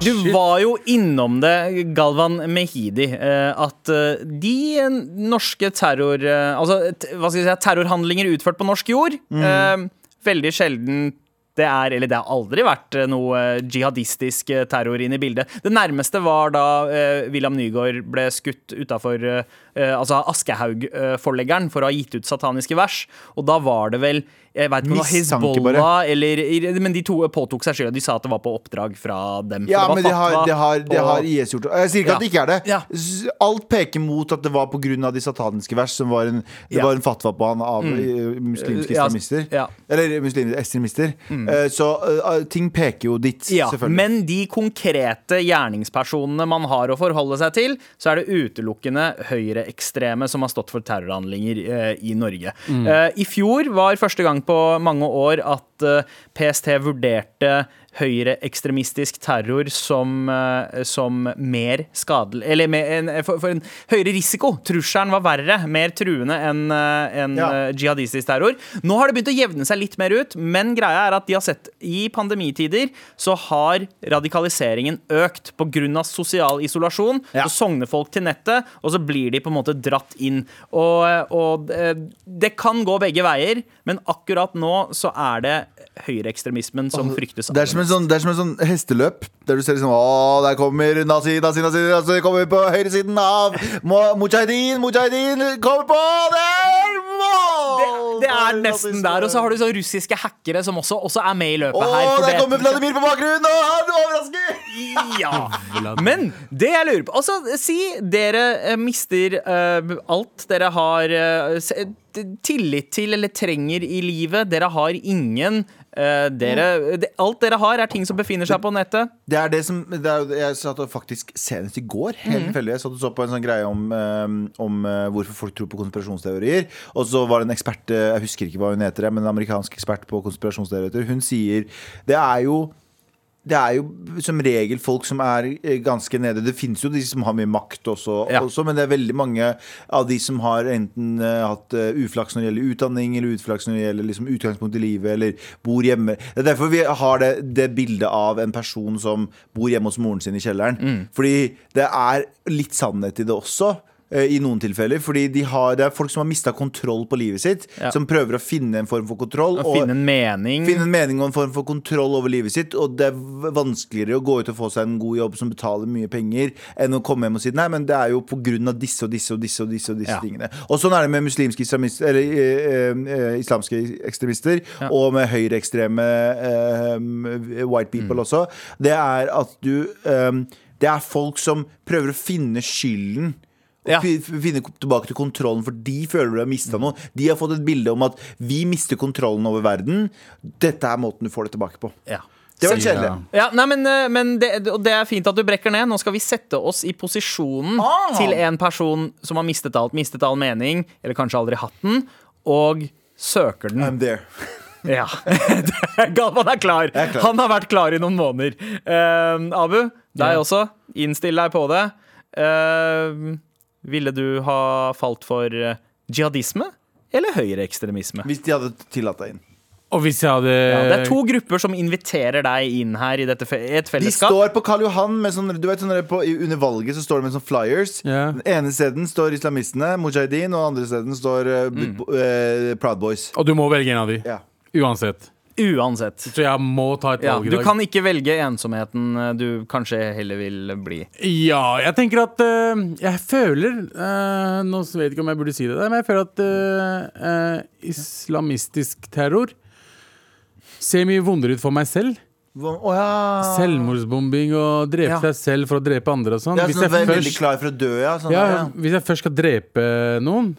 Du var jo innom det, Galvan Mehidi, eh, at eh, de eh, norske terror... eh, Altså, t- hva skal jeg si, terrorhandlinger utført på norsk jord eh, Veldig sjelden det er, eller det har aldri vært eh, noe eh, jihadistisk eh, terror inn i bildet. Det nærmeste var da eh, William Nygaard ble skutt utafor altså Aschehoug-forleggeren for å ha gitt ut sataniske vers. Og da var det vel jeg vet ikke om det var Mistanke bare. Hezbollah eller Men de to eh, påtok seg skylda. De sa at det var på oppdrag fra dem. for Ja, det var men det har, fatwa det har, det og- har IS gjort. Jeg sier ikke at det ikke er det. Ja. S- Alt peker mot at det var pga. de sataniske vers, som var en, det Ja. Mm. var en fatwa på han av eh, muslimske Ja, islamister. ja. Mm. Eller muslimske ekstremister. Eh, Så eh, ting peker jo dit, ja, selvfølgelig. men de konkrete gjerningspersonene man har å forholde seg til, så er det utelukkende Mm. høyreekstreme som har stått for terrorhandlinger eh, i Norge. Eh, I fjor var første gang gang på mange år at eh, PST vurderte høyreekstremistisk terror som, eh, som mer skadelig Eller med en, for, for en høyere risiko. Trusselen var verre, mer truende enn eh, enn, Ja. eh, jihadistisk terror. Nå har det begynt å jevne seg litt mer ut, men greia er at de har sett i pandemitider så har radikaliseringen økt pga. sosial isolasjon. Ja. Så sogner folk til nettet, og så blir de på en måte dratt inn. Og, og eh, det kan gå begge veier, men akkurat nå så er det høyreekstremismen som fryktes. Det er som en sånn, det er som en sånn hesteløp, der du ser liksom Å, der kommer nazi, nazi, nazi, nazi kommer på høyresiden av Mo- Mujahedin, mujahedin, kommer på der! Wow! det, det er nesten der. Og så har du sånne russiske hackere som også, også er med i løpet Å, her. for der det- kommer Vladimir på bakgrunnen, og han overrasker! Ja. Men det jeg lurer på Altså, si dere eh, mister eh, alt dere har eh, s- eh, tillit til eller trenger i livet. Dere har ingen eh, dere, det- Alt dere har, er ting som befinner seg på nettet. Det er det som det er, Jeg satt og faktisk senest i går Helt tilfeldig. Jeg satt og så på en sånn greie om, eh, om eh, hvorfor folk tror på konspirasjonsteorier. Og så var det en ekspert eh, Jeg husker ikke hva hun heter, men en amerikansk ekspert på konspirasjonsteorier. Hun sier det er jo det er jo som regel folk som er eh, ganske nede. Det finnes jo de som har mye makt også, Ja. også men det er veldig mange av de som har enten eh, hatt eh, uflaks når det gjelder utdanning, eller utflaks når det gjelder liksom, utgangspunkt i livet, eller bor hjemme. Det er derfor vi har det, det bildet av en person som bor hjemme hos moren sin i kjelleren. Mm. Fordi det er litt sannhet i det også. eh, I noen tilfeller, fordi de har, Det er folk som har mista kontroll på livet sitt. Ja. Som prøver å finne en form for kontroll. Å finne en mening. Finne en mening og en form for kontroll over livet sitt. Og det er v- vanskeligere å gå ut og få seg en god jobb som betaler mye penger, enn å komme hjem og si nei, men det er jo på grunn av disse og disse og disse og disse, og disse Ja. tingene. Og sånn er det med muslimske islamister, eller eh, eh, eh, islamske ekstremister, og med høyreekstreme eh, white Mm. people også. Det er at du eh, Det er folk som prøver å finne skylden. Og Ja. fi- finne tilbake til kontrollen, for de føler de har mista noe. De har fått et bilde om at vi mister kontrollen over verden. Dette er måten du får det tilbake på. Ja. Det var litt Sier kjedelig. han. Ja, nei, men, eh, men det, og det er fint at du brekker ned. Nå skal vi sette oss i posisjonen Ah. til en person som har mistet alt, mistet all mening, eller kanskje aldri hatt den, og søker den. I'm there. Ja. Galvan er klar. Jeg er klar. Han har vært klar i noen måneder. Eh, Abu, deg også. Innstill deg på det. Eh, ville du ha falt for eh, jihadisme eller høyreekstremisme? Hvis de hadde tillatt deg inn. Og hvis jeg hadde Ja, det er to grupper som inviterer deg inn her i dette fe et De fellesskap. står på Karl Johan med sånn, du vet, sånn der på, i- under valget så står de med sånn flyers. Ja. Den ene steden står islamistene, mujahedin, og den andre steden står eh, bu- bo- eh, Proud Boys. Og du må velge en av de. Ja. Uansett. Uansett. Så jeg må ta et Ja, valg i du dag. kan ikke velge ensomheten eh, du kanskje heller vil bli. Ja, jeg tenker at eh, Jeg føler eh, Nå vet jeg ikke om jeg burde si det, der, men jeg føler at eh, eh, islamistisk terror ser mye vondere ut for meg selv. Hva- Å ja. Selvmordsbombing og drepe Ja. seg selv for å drepe andre og sånn. Ja, Hvis sånn, at jeg de er veldig først klar for å dø, ja. Sånn, ja, der, ja. hvis jeg først skal drepe noen,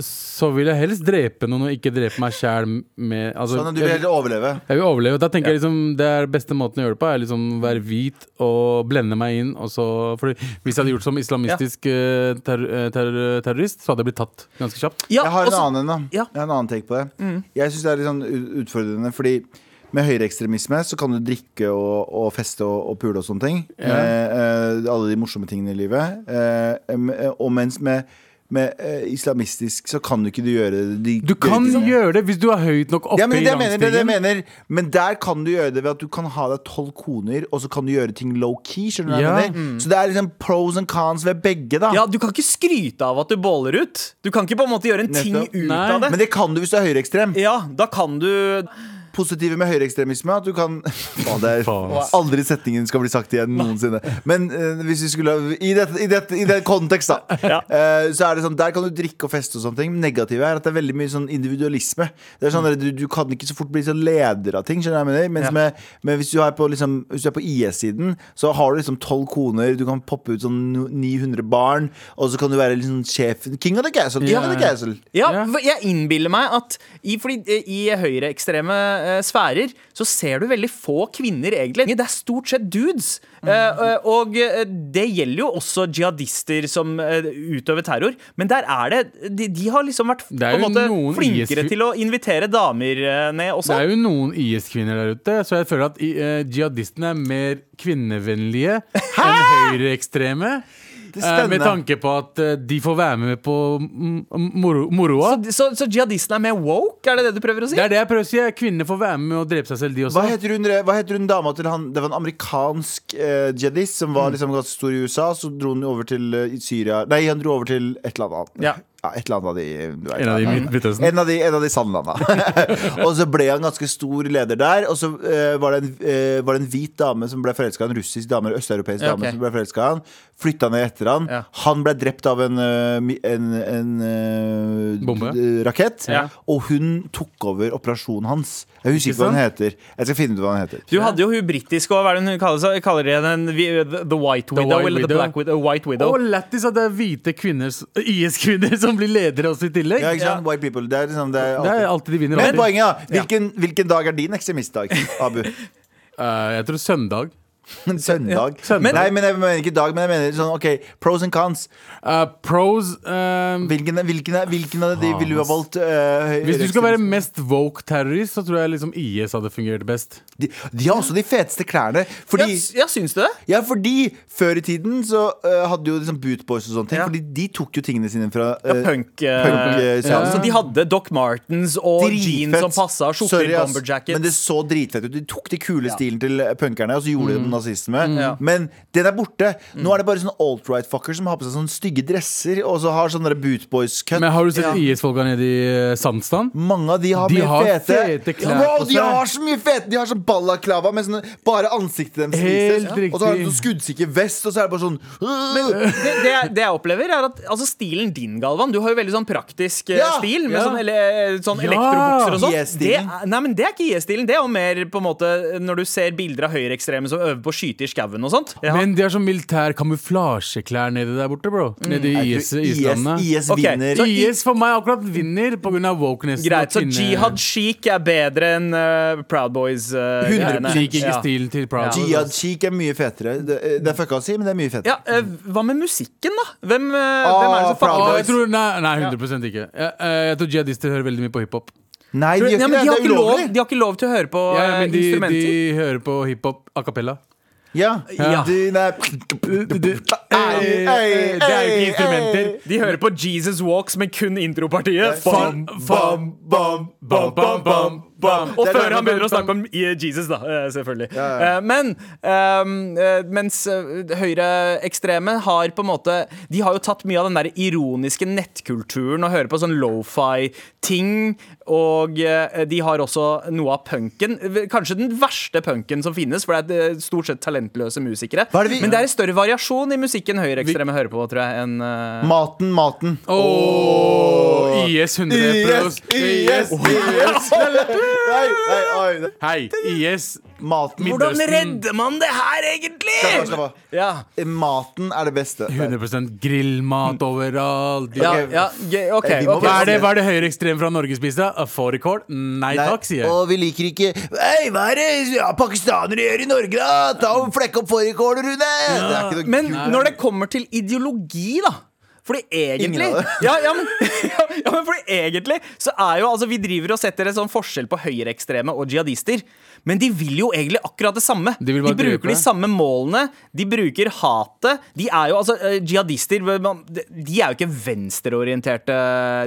så vil jeg helst drepe noen og ikke drepe meg sjæl med altså, sånn at du vil jeg, heller overleve. jeg vil overleve. Da tenker jeg liksom det er beste måten å gjøre det på, er liksom være hvit og blende meg inn. Og så, fordi hvis jeg hadde gjort som islamistisk eh, terr- eh, terr- terrorist, så hadde jeg blitt tatt ganske kjapt. Ja, altså, jeg har en også- annen en, da. Ja. Mm. Jeg har en annen take på det. Jeg syns det er litt sånn u- utfordrende, fordi med høyreekstremisme så kan du drikke og, og feste og, og pule og sånne ting. Eh, eh, alle de morsomme tingene i livet. Eh, em, eh, og mens med, med eh, islamistisk så kan du ikke du gjøre det. De, Du kan de- gjøre det hvis du er høyt nok oppe ja, men det, i jeg mener, det, er det jeg rangstigen. mener. Men der kan du gjøre det ved at du kan ha deg tolv koner, og så kan du gjøre ting low key. Skjønner du hva Ja. Mm. jeg mener? Så det er liksom pros and cons ved begge, da. Ja, Du kan ikke skryte av at du båler ut. Du kan ikke på en måte gjøre en ting Nettopp. ut Nei. av det. Men det kan du hvis du er høyreekstrem. Ja, da kan du positive med høyreekstremisme er at du kan Faen, det Faen, er Aldri setningen skal bli sagt igjen noensinne. Men eh, hvis vi skulle I dette, i dette, i det kontekst, da. eh, så er det sånn, Der kan du drikke og feste og sånne ting. Men Negativet er at det er veldig mye sånn individualisme. Det er sånn at du, du kan ikke så fort bli sånn leder av ting. skjønner du hva jeg mener? Mens Ja. med, men hvis du er på, liksom, hvis du er på IS-siden, så har du liksom tolv koner, du kan poppe ut sånn no- 900 barn, og så kan du være liksom sjefen. King of the castle! King of the castle. Ja, Ja. for jeg innbiller meg at i, fordi, eh, i høyreekstreme eh, sfærer så ser du veldig få kvinner, egentlig. Det er stort sett dudes. Eh, eh, og eh, det gjelder jo også jihadister som eh, utøver terror, men der er det De, de har liksom vært Det er på en jo måte noen flinkere IS til å invitere damer eh, ned Det også. er jo noen IS-kvinner der ute, så jeg føler at eh, jihadistene er mer kvinnevennlige enn høyreekstreme. Det er eh, Med spennende. tanke på at eh, de får være med på mm, moro- moroa. Så, så jihadistene er mer woke, er det det du prøver å si? Det er det jeg prøver å si. Kvinnene får være med og drepe seg selv, de også. Hva heter hun, hva heter hun dama til han Det var en amerikansk eh, jihadist som var liksom ganske stor i USA. Så dro han over til eh, Syria Nei, han dro over til et eller annet. Ja. et eller annet av de du vet, En av de i ja. Midt- Midtøsten. En av de, en av de sandlanda. og så ble han ganske stor leder der. Og så eh, var, det en, eh, var det en hvit dame som ble forelska i en russisk dame, eller østeuropeisk Ja, dame, ok. som ble forelska i han. Flytta ned etter han. Ja. Han ble drept av en, eh, mi- en, en eh, Bombe. d- rakett. Ja. Og hun tok over operasjonen hans. Jeg husker ikke hva han heter. Jeg skal finne ut hva han heter. Du hadde jo hun britiske og hva er det hun kaller, seg, kaller det? Den, vi- eh, the, the White Widow White eller The Widow. Black Widow? White Widow. Og lættis at det er hvite kvinner, s- IS-kvinner som blir ledere også i tillegg. Ja, ikke sant? White people. Det er liksom det er Det er alltid. alltid de vinner. Men Alltid. poenget, da. Hvilken, hvilken dag er din ekstremistdag, Abu? Eh, jeg tror søndag. Søndag. søndag. Nei, men jeg mener ikke dag, men jeg mener sånn, ok, pros and cons. Eh, pros eh, Hvilken, hvilken, hvilken av de ville du ha valgt? eh, høyre- Hvis du skal være mest woke terrorist, så tror jeg liksom IS hadde fungert best. de, de har også de feteste klærne. Fordi, Ja, s- ja, syns du det? ja, fordi før i tiden så eh, hadde jo liksom bootboys og sånne ting. Ja. Fordi de tok jo tingene sine fra eh, Punk, eh, punk, eh, ja. seansen. Så de hadde Doc Martens og jeans Dritfett. som passa, skjorter, Sorry, ass. bomberjackets. Men det så dritfett ut. De tok de kule stilen til punkerne og så gjorde de den nazisme. Mm. Ja. Mm. Men den er borte. Nå er det bare sånne alt-right-fucker som har på seg sånne stygge dresser og så har sånne bootboys-cut. Men har du sett IS-folka nede i eh, Sandstrand? Mange av de har De mye har fete, fete klær wow, på De seg. har så mye fete! De har sånn balaklava med sånne, bare ansiktet deres Helt vises. Og så har de riktig. sånn skuddsikker vest, og så er det bare sånn det, det, jeg- det jeg opplever, er at altså, stilen din, Galvan Du har jo veldig sånn praktisk eh, Ja, stil, med ja. sånn, ele, sånn Ja. elektrobukser og sånn. Det, IS-stilen. er- nei, men det er ikke IS-stilen. Det er jo mer på en måte når du ser bilder av høyreekstreme som øver på å skyte i skauen og sånt. Ja. Men de har sånn militær kamuflasjeklær nede der borte, bro. Nede i Mm. IS, IS, islandet. IS IS, Ok, vinner. så- for meg akkurat vinner pga. wokenessen. Greit, og så kvinne- Jihad Chic er bedre enn eh, Proud Boys. eh, 100% greiene. Liker ikke Ja. stilen til Proud. Boys. Jihad Chic er mye fetere. Det, det er fucka å si, men det er mye fetere. Ja, eh, hva med musikken, da? Hvem, eh, hvem er Ah, det som Proud Å, fucker jeg tror, nei, nei, 100 ikke. Jeg, eh, jeg tror jihadister hører veldig mye på hiphop. Nei, de Tror- gjør Ja, ikke men det. de, har Det ikke er lov, ulovlig. de har ikke lov til å høre på Ja, eh, men de, de instrumenter. hører på hiphop a cappella. Ja. Ja. De, nei. Det, det, det er jo ikke instrumenter. De hører på Jesus Walks, men kun intropartiet. Bam, bam, bam, bam, bam, bam, bam. Og Det er før det- han begynner å snakke om eh, Jesus, da, eh, selvfølgelig. Eh, Men ehm, eh, mens eh, høyreekstreme har på en måte De har jo tatt mye av den der ironiske nettkulturen og hører på sånn lofi-ting. Og eh, de har også noe av punken. Kanskje den verste punken som finnes, for det er eh, stort sett talentløse musikere. Hva er det vi- Men det er en større variasjon i musikken høyreekstreme hører på, tror jeg, enn eh, Maten, maten. Åh, IS 100 IS, pros. IS, IS. Nei, nei, oi. Hei, IS. Maten Hvordan Midtøsten. redder man det her, egentlig? Slapp av, slapp av. Ja. Maten er det beste. 100 grillmat overalt. Ja, Ok. ja, ge- ok, Eh, vi må ok. Hva bare- er det, hva er det høyreekstrem fra Norge spiste? A Fårikål? Nei Nei, takk, sier jeg. Og vi liker ikke Hei, hva er det ja, pakistanere gjør i Norge, da? Ta og Flekk opp fårikål, Rune! Det er ikke noe Men kult. når det kommer til ideologi, da fordi egentlig Ingen av det. ja, ja, men, ja, ja, men fordi egentlig så er jo altså Vi driver og setter en sånn forskjell på høyreekstreme og jihadister. Men de vil jo egentlig akkurat det samme. De vil bare drepe. bruker de samme målene. De bruker hatet. De er jo altså eh, Jihadister man- De er jo ikke venstreorienterte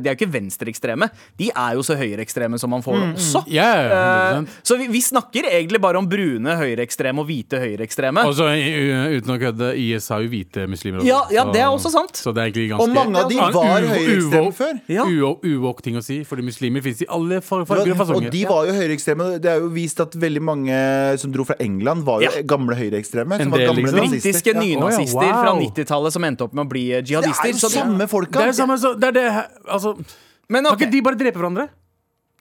De er jo ikke venstreekstreme. De er jo så høyreekstreme som man får det også. Mm, Ja, Eh, 100 Så vi, vi snakker egentlig bare om brune høyreekstreme og hvite høyreekstreme. Og så u- uten å kødde, IS har jo hvite muslimer også. Ja, ja, så- det er også sant. Så det er egentlig ganske Og mange av de Ja, var uvo- høyreekstreme uvo- før. Ja. uvo- Uvåk ting å si, fordi muslimer finnes i alle far- farger og Og fasonger. de var jo høyreekstreme. Det er jo vist at veldig mange som dro fra England, var jo Ja. gamle høyreekstreme. En Som var del, gamle liksom. nazister. Britiske Ja. nynazister Å, ja, wow. fra 90-tallet som endte opp med å bli eh, Det jihadister. er jo Så det, samme folka. Det er jo samme, så, det er det, altså, men Kan ok, ikke de bare drepe hverandre?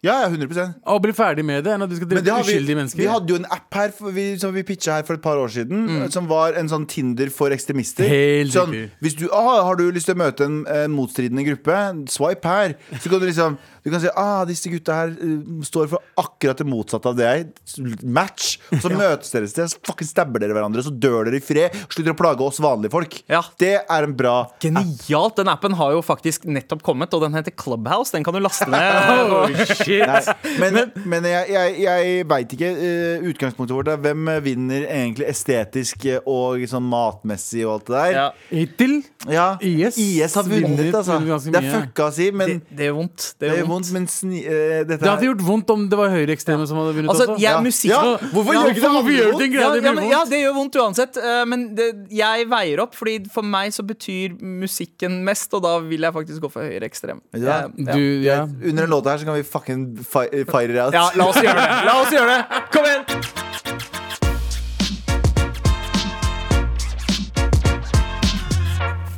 Ja, ja, 100 Å bli ferdig med det enn at du skal Men det drepe har vi, uskyldige mennesker. Mm. vi hadde jo en app her for, vi, som vi pitcha her for et par år siden, som var en sånn Tinder for ekstremister. Helt sånn, riktig. hvis du ah, Har du lyst til å møte en, en motstridende gruppe, swipe her. Så kan du liksom Du kan si ah, disse gutta her eh, står for akkurat det motsatte av det jeg Match. Og så møtes dere et sted, så fucking stabber dere hverandre, så dør dere i fred. Slutter å plage oss vanlige folk. Ja. Det er en bra Genialt! Den appen har jo faktisk nettopp kommet, og den heter Clubhouse. Den kan du laste ned. Oh, shit. Nei, men, men jeg, jeg, jeg veit ikke. eh, utgangspunktet vårt er hvem eh, vinner egentlig estetisk eh, og sånn matmessig og alt det der. Ja. Hittil Ja, IS har vunnet, vunnet- altså. vunnet ganske Det er mye. fucka å si, men Det, det gjør vondt. det Det er gjør vondt. vondt. Men sni, eh, dette Det hadde her- gjort vondt om det var høyreekstreme som hadde vunnet Altså, også. jeg Ja. er musikk... Ja, hvorfor gjør ikke det hvorfor andre gjør vondt? du ikke Ja, det? Det ja, blir men, ja, vondt. det gjør vondt uansett, eh, men det, jeg veier opp. Fordi for meg så betyr musikken mest, og da vil jeg faktisk gå for høyreekstrem. Ja. Eh, Du, ja. Under den låta her så kan vi fucking fi, eh, fire it out. Ja, la oss gjøre det. La oss gjøre det. Kom igjen!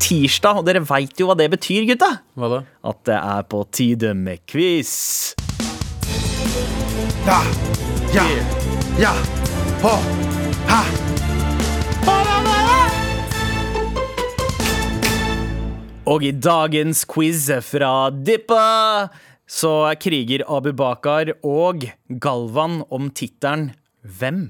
Tirsdag, og dere veit jo hva det betyr, gutta. Hva da? At det er på tide med quiz. ja, ja, ha, ha. Og i dagens quiz fra Dippa så er kriger Abubakar og Galvan om tittelen Hvem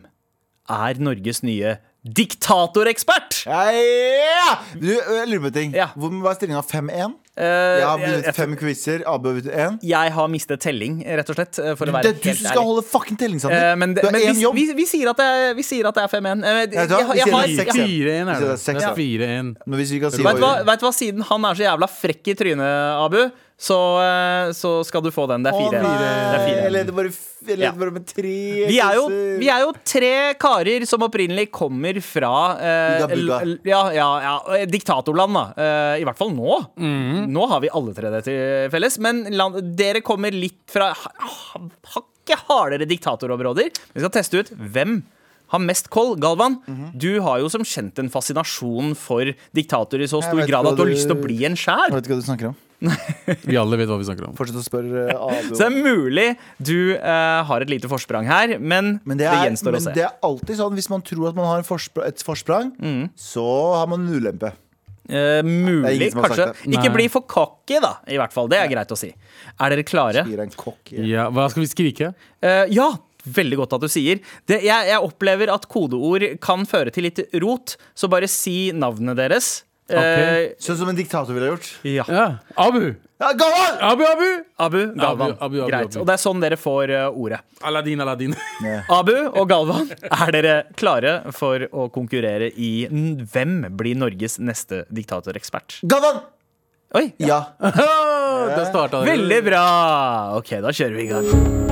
er Norges nye diktatorekspert? Ja! Du, eh, jeg lurer på en ting. Ja. Hvor var stillinga? 5-1? Eh, Jeg har jeg- jeg- vunnet fem quizer. Abu har vunnet én. Jeg har mistet telling, rett og slett. eh, For å Det være er du helt som skal ærlig. holde fucking telling, Sander. Eh, men det, du har men én vi, jobb. vi, vi, sier at det er, vi sier at det er 5-1. Eh, Vet Jeg, du hva? jeg, Vi sier jeg, har- det er jeg, seks, ja. 4-1 er Det det. er seks, Det ja. er 4-1. Men hvis vi kan si vet, du hva, vår- vet du hva, siden han er så jævla frekk i trynet, Abu, så, eh, så skal du få den. Det er Å, fire. nei, Det er fire. Jeg leder bare, f- jeg leder Ja. bare med tre Vi er, jo, quizer. vi er jo tre karer som opprinnelig kommer fra eh, Buga, buga. l- l- ja, ja, ja, eh, diktatorland, da. Eh, I hvert fall nå. Nå har vi alle tre det til felles. Men land, dere kommer litt fra ha- ha- hakket hardere diktatorområder. Vi skal teste ut hvem har mest koll. Galvan, Mhm. du har jo som kjent en fascinasjon for diktatorer i så stor vet grad hva at du har du- lyst til å bli en sjæl. Jeg vet ikke hva du snakker om. Vi alle vet hva vi snakker om. Fortsett å spørre eh, Abu. Så det er mulig du eh, har et lite forsprang her, men, Men, det, det er, gjenstår å men se. det er alltid sånn hvis man tror at man har en forspr et forsprang, Mm. så har man en ulempe. Eh, mulig, ingen som har kanskje. sagt Ikke Nei. bli for cocky, da. I hvert fall. Det er greit å si. Er dere klare? Gir en kokk i- Ja, hva skal vi skrike? Eh, ja! Veldig godt at du sier. Det, jeg, jeg opplever at kodeord kan føre til litt rot, så bare si navnet deres. Eh, Sånn som en diktator ville ha gjort. ja. Ja. Abu! Ja, go on! Abu, Abu! Abu, Galvan. Abu, Abu, Abu, Greit. Abu. Og det er sånn dere får eh, ordet. Aladdin, Aladdin. Abu og Galvan, er dere klare for å konkurrere i n- Hvem blir Norges neste diktatorekspert? Gavan! Oi! Ja. det starta det. Veldig bra! Ok, da kjører vi i gang.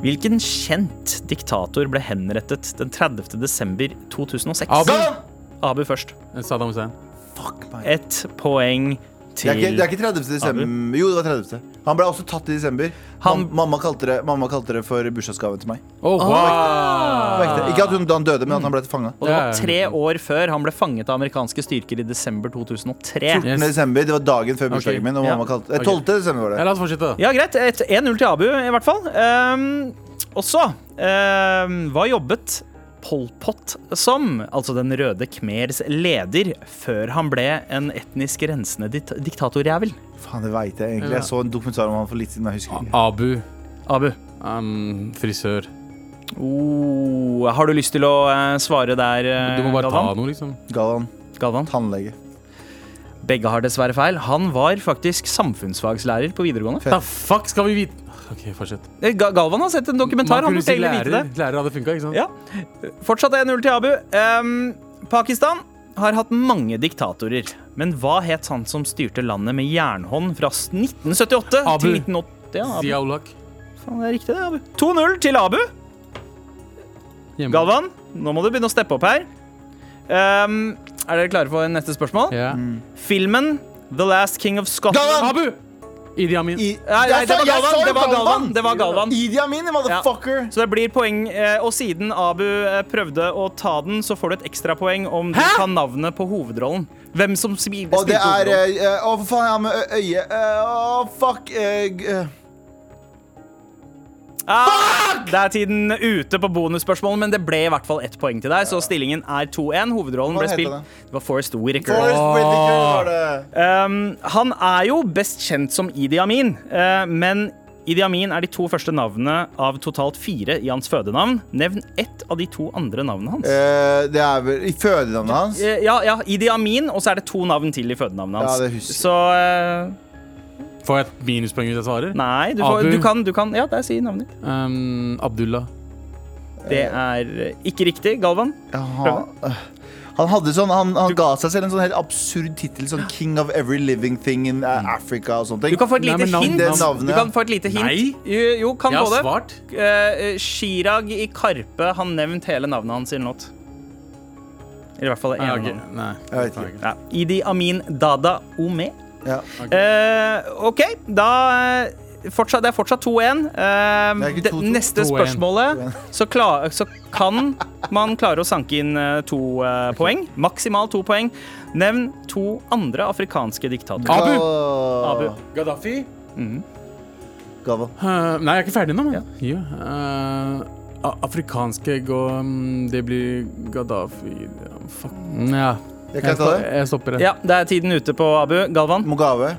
Hvilken kjent diktator ble henrettet den 30. desember 2006? Abu. Gavan! Abu først. Saddam Hussein. Fuck meg. Ett poeng Det er, ikke, til det er ikke 30. desember. Jo, det var 30. Han ble også tatt i desember. Han- Mam- mamma, kalte det, mamma kalte det for bursdagsgaven til meg. Oh, wow. Ah. På ekte. Ikke at hun, han døde, men at han ble fanga. Og det var tre år før han ble fanget av amerikanske styrker i desember 2003. Yes. Desember, det var dagen før bursdagen Ok, min. Og mamma ja. kalte, eh, 12. desember var det. Ja, la oss fortsette, da. Ja, greit. Et- 1-0 til Abu, i hvert fall. Um, og så um, Hva jobbet Pol Pot som, altså Den røde khmers leder, før han ble en etnisk rensende dit diktatorjævel? Faen, det veit jeg egentlig. Jeg så en dokumentar om han for litt siden. men Jeg husker ikke. Abu. Abu, Um, frisør. oh, har du lyst til å eh, svare der, eh, Du må bare ta Galvan? noe, liksom. Galvan, Galvan? tannlege. Begge har dessverre feil. Han var faktisk samfunnsfagslærer på videregående. Da fuck skal vi vite OK, fortsett. Eh, Ga- Galvan har sett en dokumentar. Han burde Man kunne si egentlig vite det. lærer. Lærer hadde funka, ikke sant? Ja. Fortsatt 1-0 til Abu. Ehm, Pakistan har hatt mange diktatorer. Men hva het han som styrte landet med jernhånd fra 1978 Abu. til 1980? Ja, Abu. Ziaulak. Faen, det er riktig, det, Abu. 2-0 til Abu. Hjemme. Galvan, nå må du begynne å steppe opp her. Ehm, er dere klare for neste spørsmål? Ja. Filmen The Last King of Scotland Abu! Idi Amin. I- Nei, nei, Jeg det sa- var jeg Galvan, sa jo det var Galvan, det var Galvan. Idi Amin, motherfucker. Så det blir poeng. eh, Og siden Abu eh, prøvde å ta den, så får du et ekstrapoeng om du Hæ? kan navnet på hovedrollen. Hvem som sp- spilte Og det er hovedrollen. eh, eh, Å, for faen, jeg har med ø- øye Eh, Å, fuck eh, g- eh, Ah, det er tiden ute på bonusspørsmål, men det ble i hvert fall ett poeng til deg. Så stillingen er 2-1. Hovedrollen Hva ble heter spilt det? Det var Forrest Whitaker. Forrest Whitaker var det. Um, han er jo best kjent som Idi Amin, eh, men Idi Amin er de to første navnene av totalt fire i hans fødenavn. Nevn ett av de to andre navnene hans. Eh, det er vel i fødenavnet hans. Eh, ja, ja, Idi Amin, og så er det to navn til i fødenavnet hans. Ja, det husker jeg. så eh, Får jeg et minuspoeng hvis jeg svarer? Nei, du, får, Abu. du kan, du kan Ja, der sier navnet ditt. Um, Abdullah. Det er eh, ikke riktig. Galvan? Jaha. Han hadde sånn, han, han ga seg selv en sånn helt absurd tittel. Sånn King of every living thing in eh, Africa og sånne ting. Du kan få et Nei, lite men navn- hint. det navnet, du ja. kan få et lite hint. Nei. Jo, jo kan Jeg har både. svart. Eh, eh, Chirag i Karpe har nevnt hele navnet hans i en låt. Eller i hvert fall det ene Ja, Ah, ok. navnet. Nei. Jeg vet ikke. Ja. Idi Amin Dada Ome. Ja. Eh, OK, da eh, fortsatt, Det er fortsatt 2-1. Eh, Det er ikke det 2-2. neste 2-1. spørsmålet så, kla- så kan man klare å sanke inn eh, to eh, poeng. Maksimalt to poeng. Nevn to andre afrikanske Ah. diktatorer. Abu. Åh, Abu. Gaddafi? Gavan. Eh, nei, jeg er ikke ferdig ennå, mann. Ja. Eh, a- afrikanske gå mm, Det blir Gaddafi Fuck. Ja. Jeg kan ta sto- det. jeg stopper det. Ja, det er tiden ute på Abu. Galvan? Mugawe.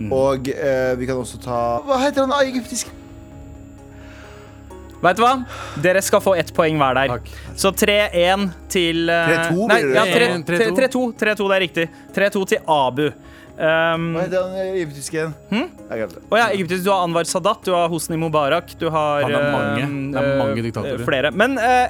Mm. Og eh, vi kan også ta Hva heter han egyptisk? Vet du hva? Dere skal få ett poeng hver der. Takk. Så 3-1 til eh, 3-2 Nei, blir det. ja, tre- 3-1, tre- 3-2. 3-2. 3-2, det er riktig. 3-2 til Abu. Um, Hva heter han egyptiske igjen? Hm? Jeg glemte det. Å ja, Egyptisk, du har Anwar Sadat, du har Hosni Mubarak, du har Ja, det er mange. eh, Det er mange eh, diktatorer. Flere. Men eh,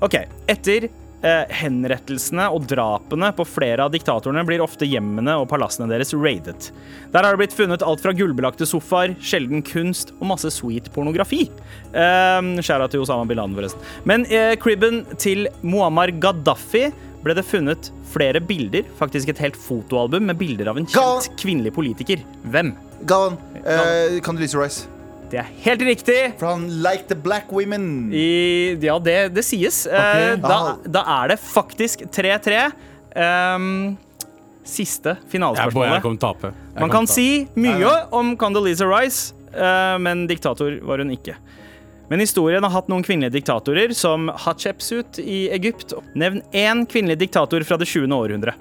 OK. Etter eh, henrettelsene og drapene på flere av diktatorene blir ofte hjemmene og palassene deres raidet. Der har det blitt funnet alt fra gullbelagte sofaer, sjelden kunst og masse sweet pornografi. Um, til Osama bin Laden, forresten. Men eh, cribben til Muammar Gaddafi ble det funnet flere bilder, faktisk et helt fotoalbum med bilder av en Ga- kjent kvinnelig politiker. Hvem? Gavan. Eh, kan du Lise Rice? Det er helt riktig. For han like the black women. I, ja, det, det sies. Eh, da, Ah. da er det faktisk 3-3. Ehm, siste Jeg, jeg finalespørsmålet. kommer til å tape. Jeg Man kommer kan til å si mye om Condoleezza Rice, eh, men diktator var hun ikke. Men historien har hatt noen kvinnelige diktatorer, som Hatshepsut i Egypt. Nevn én kvinnelig diktator fra det 20. århundre.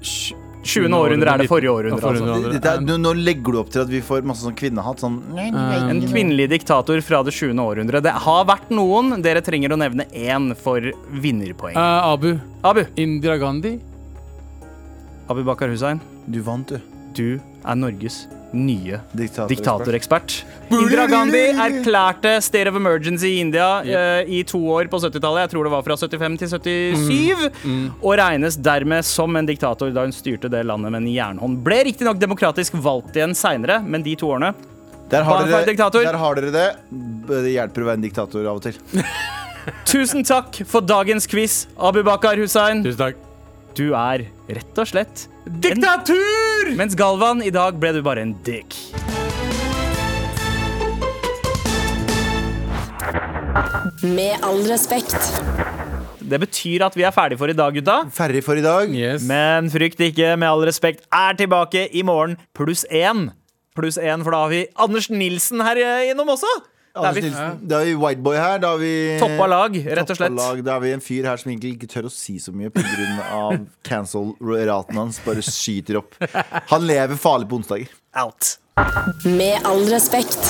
Sj- 20. århundre er det forrige århundre. Ja, forrige Altså. århundre. Dette er, nå, nå legger du opp til at vi får masse sånn kvinnehatt. Sånn Eh, En kvinnelig diktator fra det 20. århundre. Det har vært noen. Dere trenger å nevne én for vinnerpoeng. Eh, Abu. Abu. Indira Gandhi. Abu Bakar Hussein, Du vant, du. du er Norges nye Diktator. diktatorekspert. Indira Gandhi erklærte state of emergency i India eh, i to år på 70-tallet. Jeg tror det var fra 75 til 77. Og regnes dermed som en diktator da hun styrte det landet med en jernhånd. Ble riktignok demokratisk valgt igjen seinere, men de to årene Der har, Bare for dere, diktator. der har dere det. Det hjelper å være en diktator av og til. Tusen takk for dagens quiz, Abu Bakar Hussein. Tusen takk. Du er rett og slett Diktatur! mens Galvan, i dag ble du bare en dick. Med all respekt. Det betyr at vi er ferdig for i dag, gutta. Ferdig for i dag. Yes. Men frykt ikke, med all respekt, er tilbake i morgen pluss én. Pluss én, for da har vi Anders Nilsen her eh, innom også. Da er Anders vi Nilsen. Da har vi Whiteboy her. Da har vi toppa lag, rett og Toppa slett. lag. Da har vi en fyr her som egentlig ikke tør å si så mye pga. cancel-raten hans. Bare skyter opp. Han lever farlig på onsdager. Out. Med all respekt.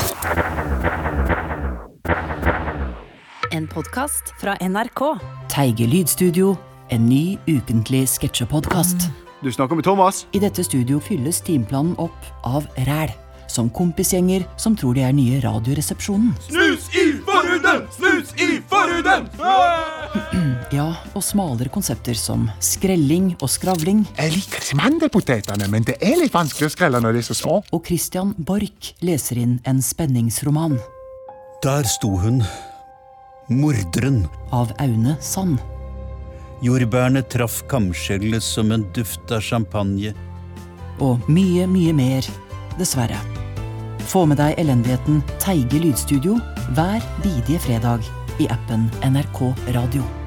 En podkast fra NRK. Teige lydstudio. En ny ukentlig sketsjepodkast. Du snakker med Thomas? I dette studio fylles timeplanen opp av ræl. Som kompisgjenger som tror de er nye Radioresepsjonen. Snus i forhuden! Snus i forhuden! Ja, og smalere konsepter som skrelling og skravling. Jeg liker ikke mandelpotetene, men det er litt vanskelig å skrelle når de er så små. Og Christian Borch leser inn en spenningsroman Der sto hun, morderen. av Aune Sand. Jordbærene traff kamskjellet som en duft av champagne. og mye, mye mer, dessverre. Få med deg elendigheten Teige lydstudio hver bidige fredag i appen NRK Radio.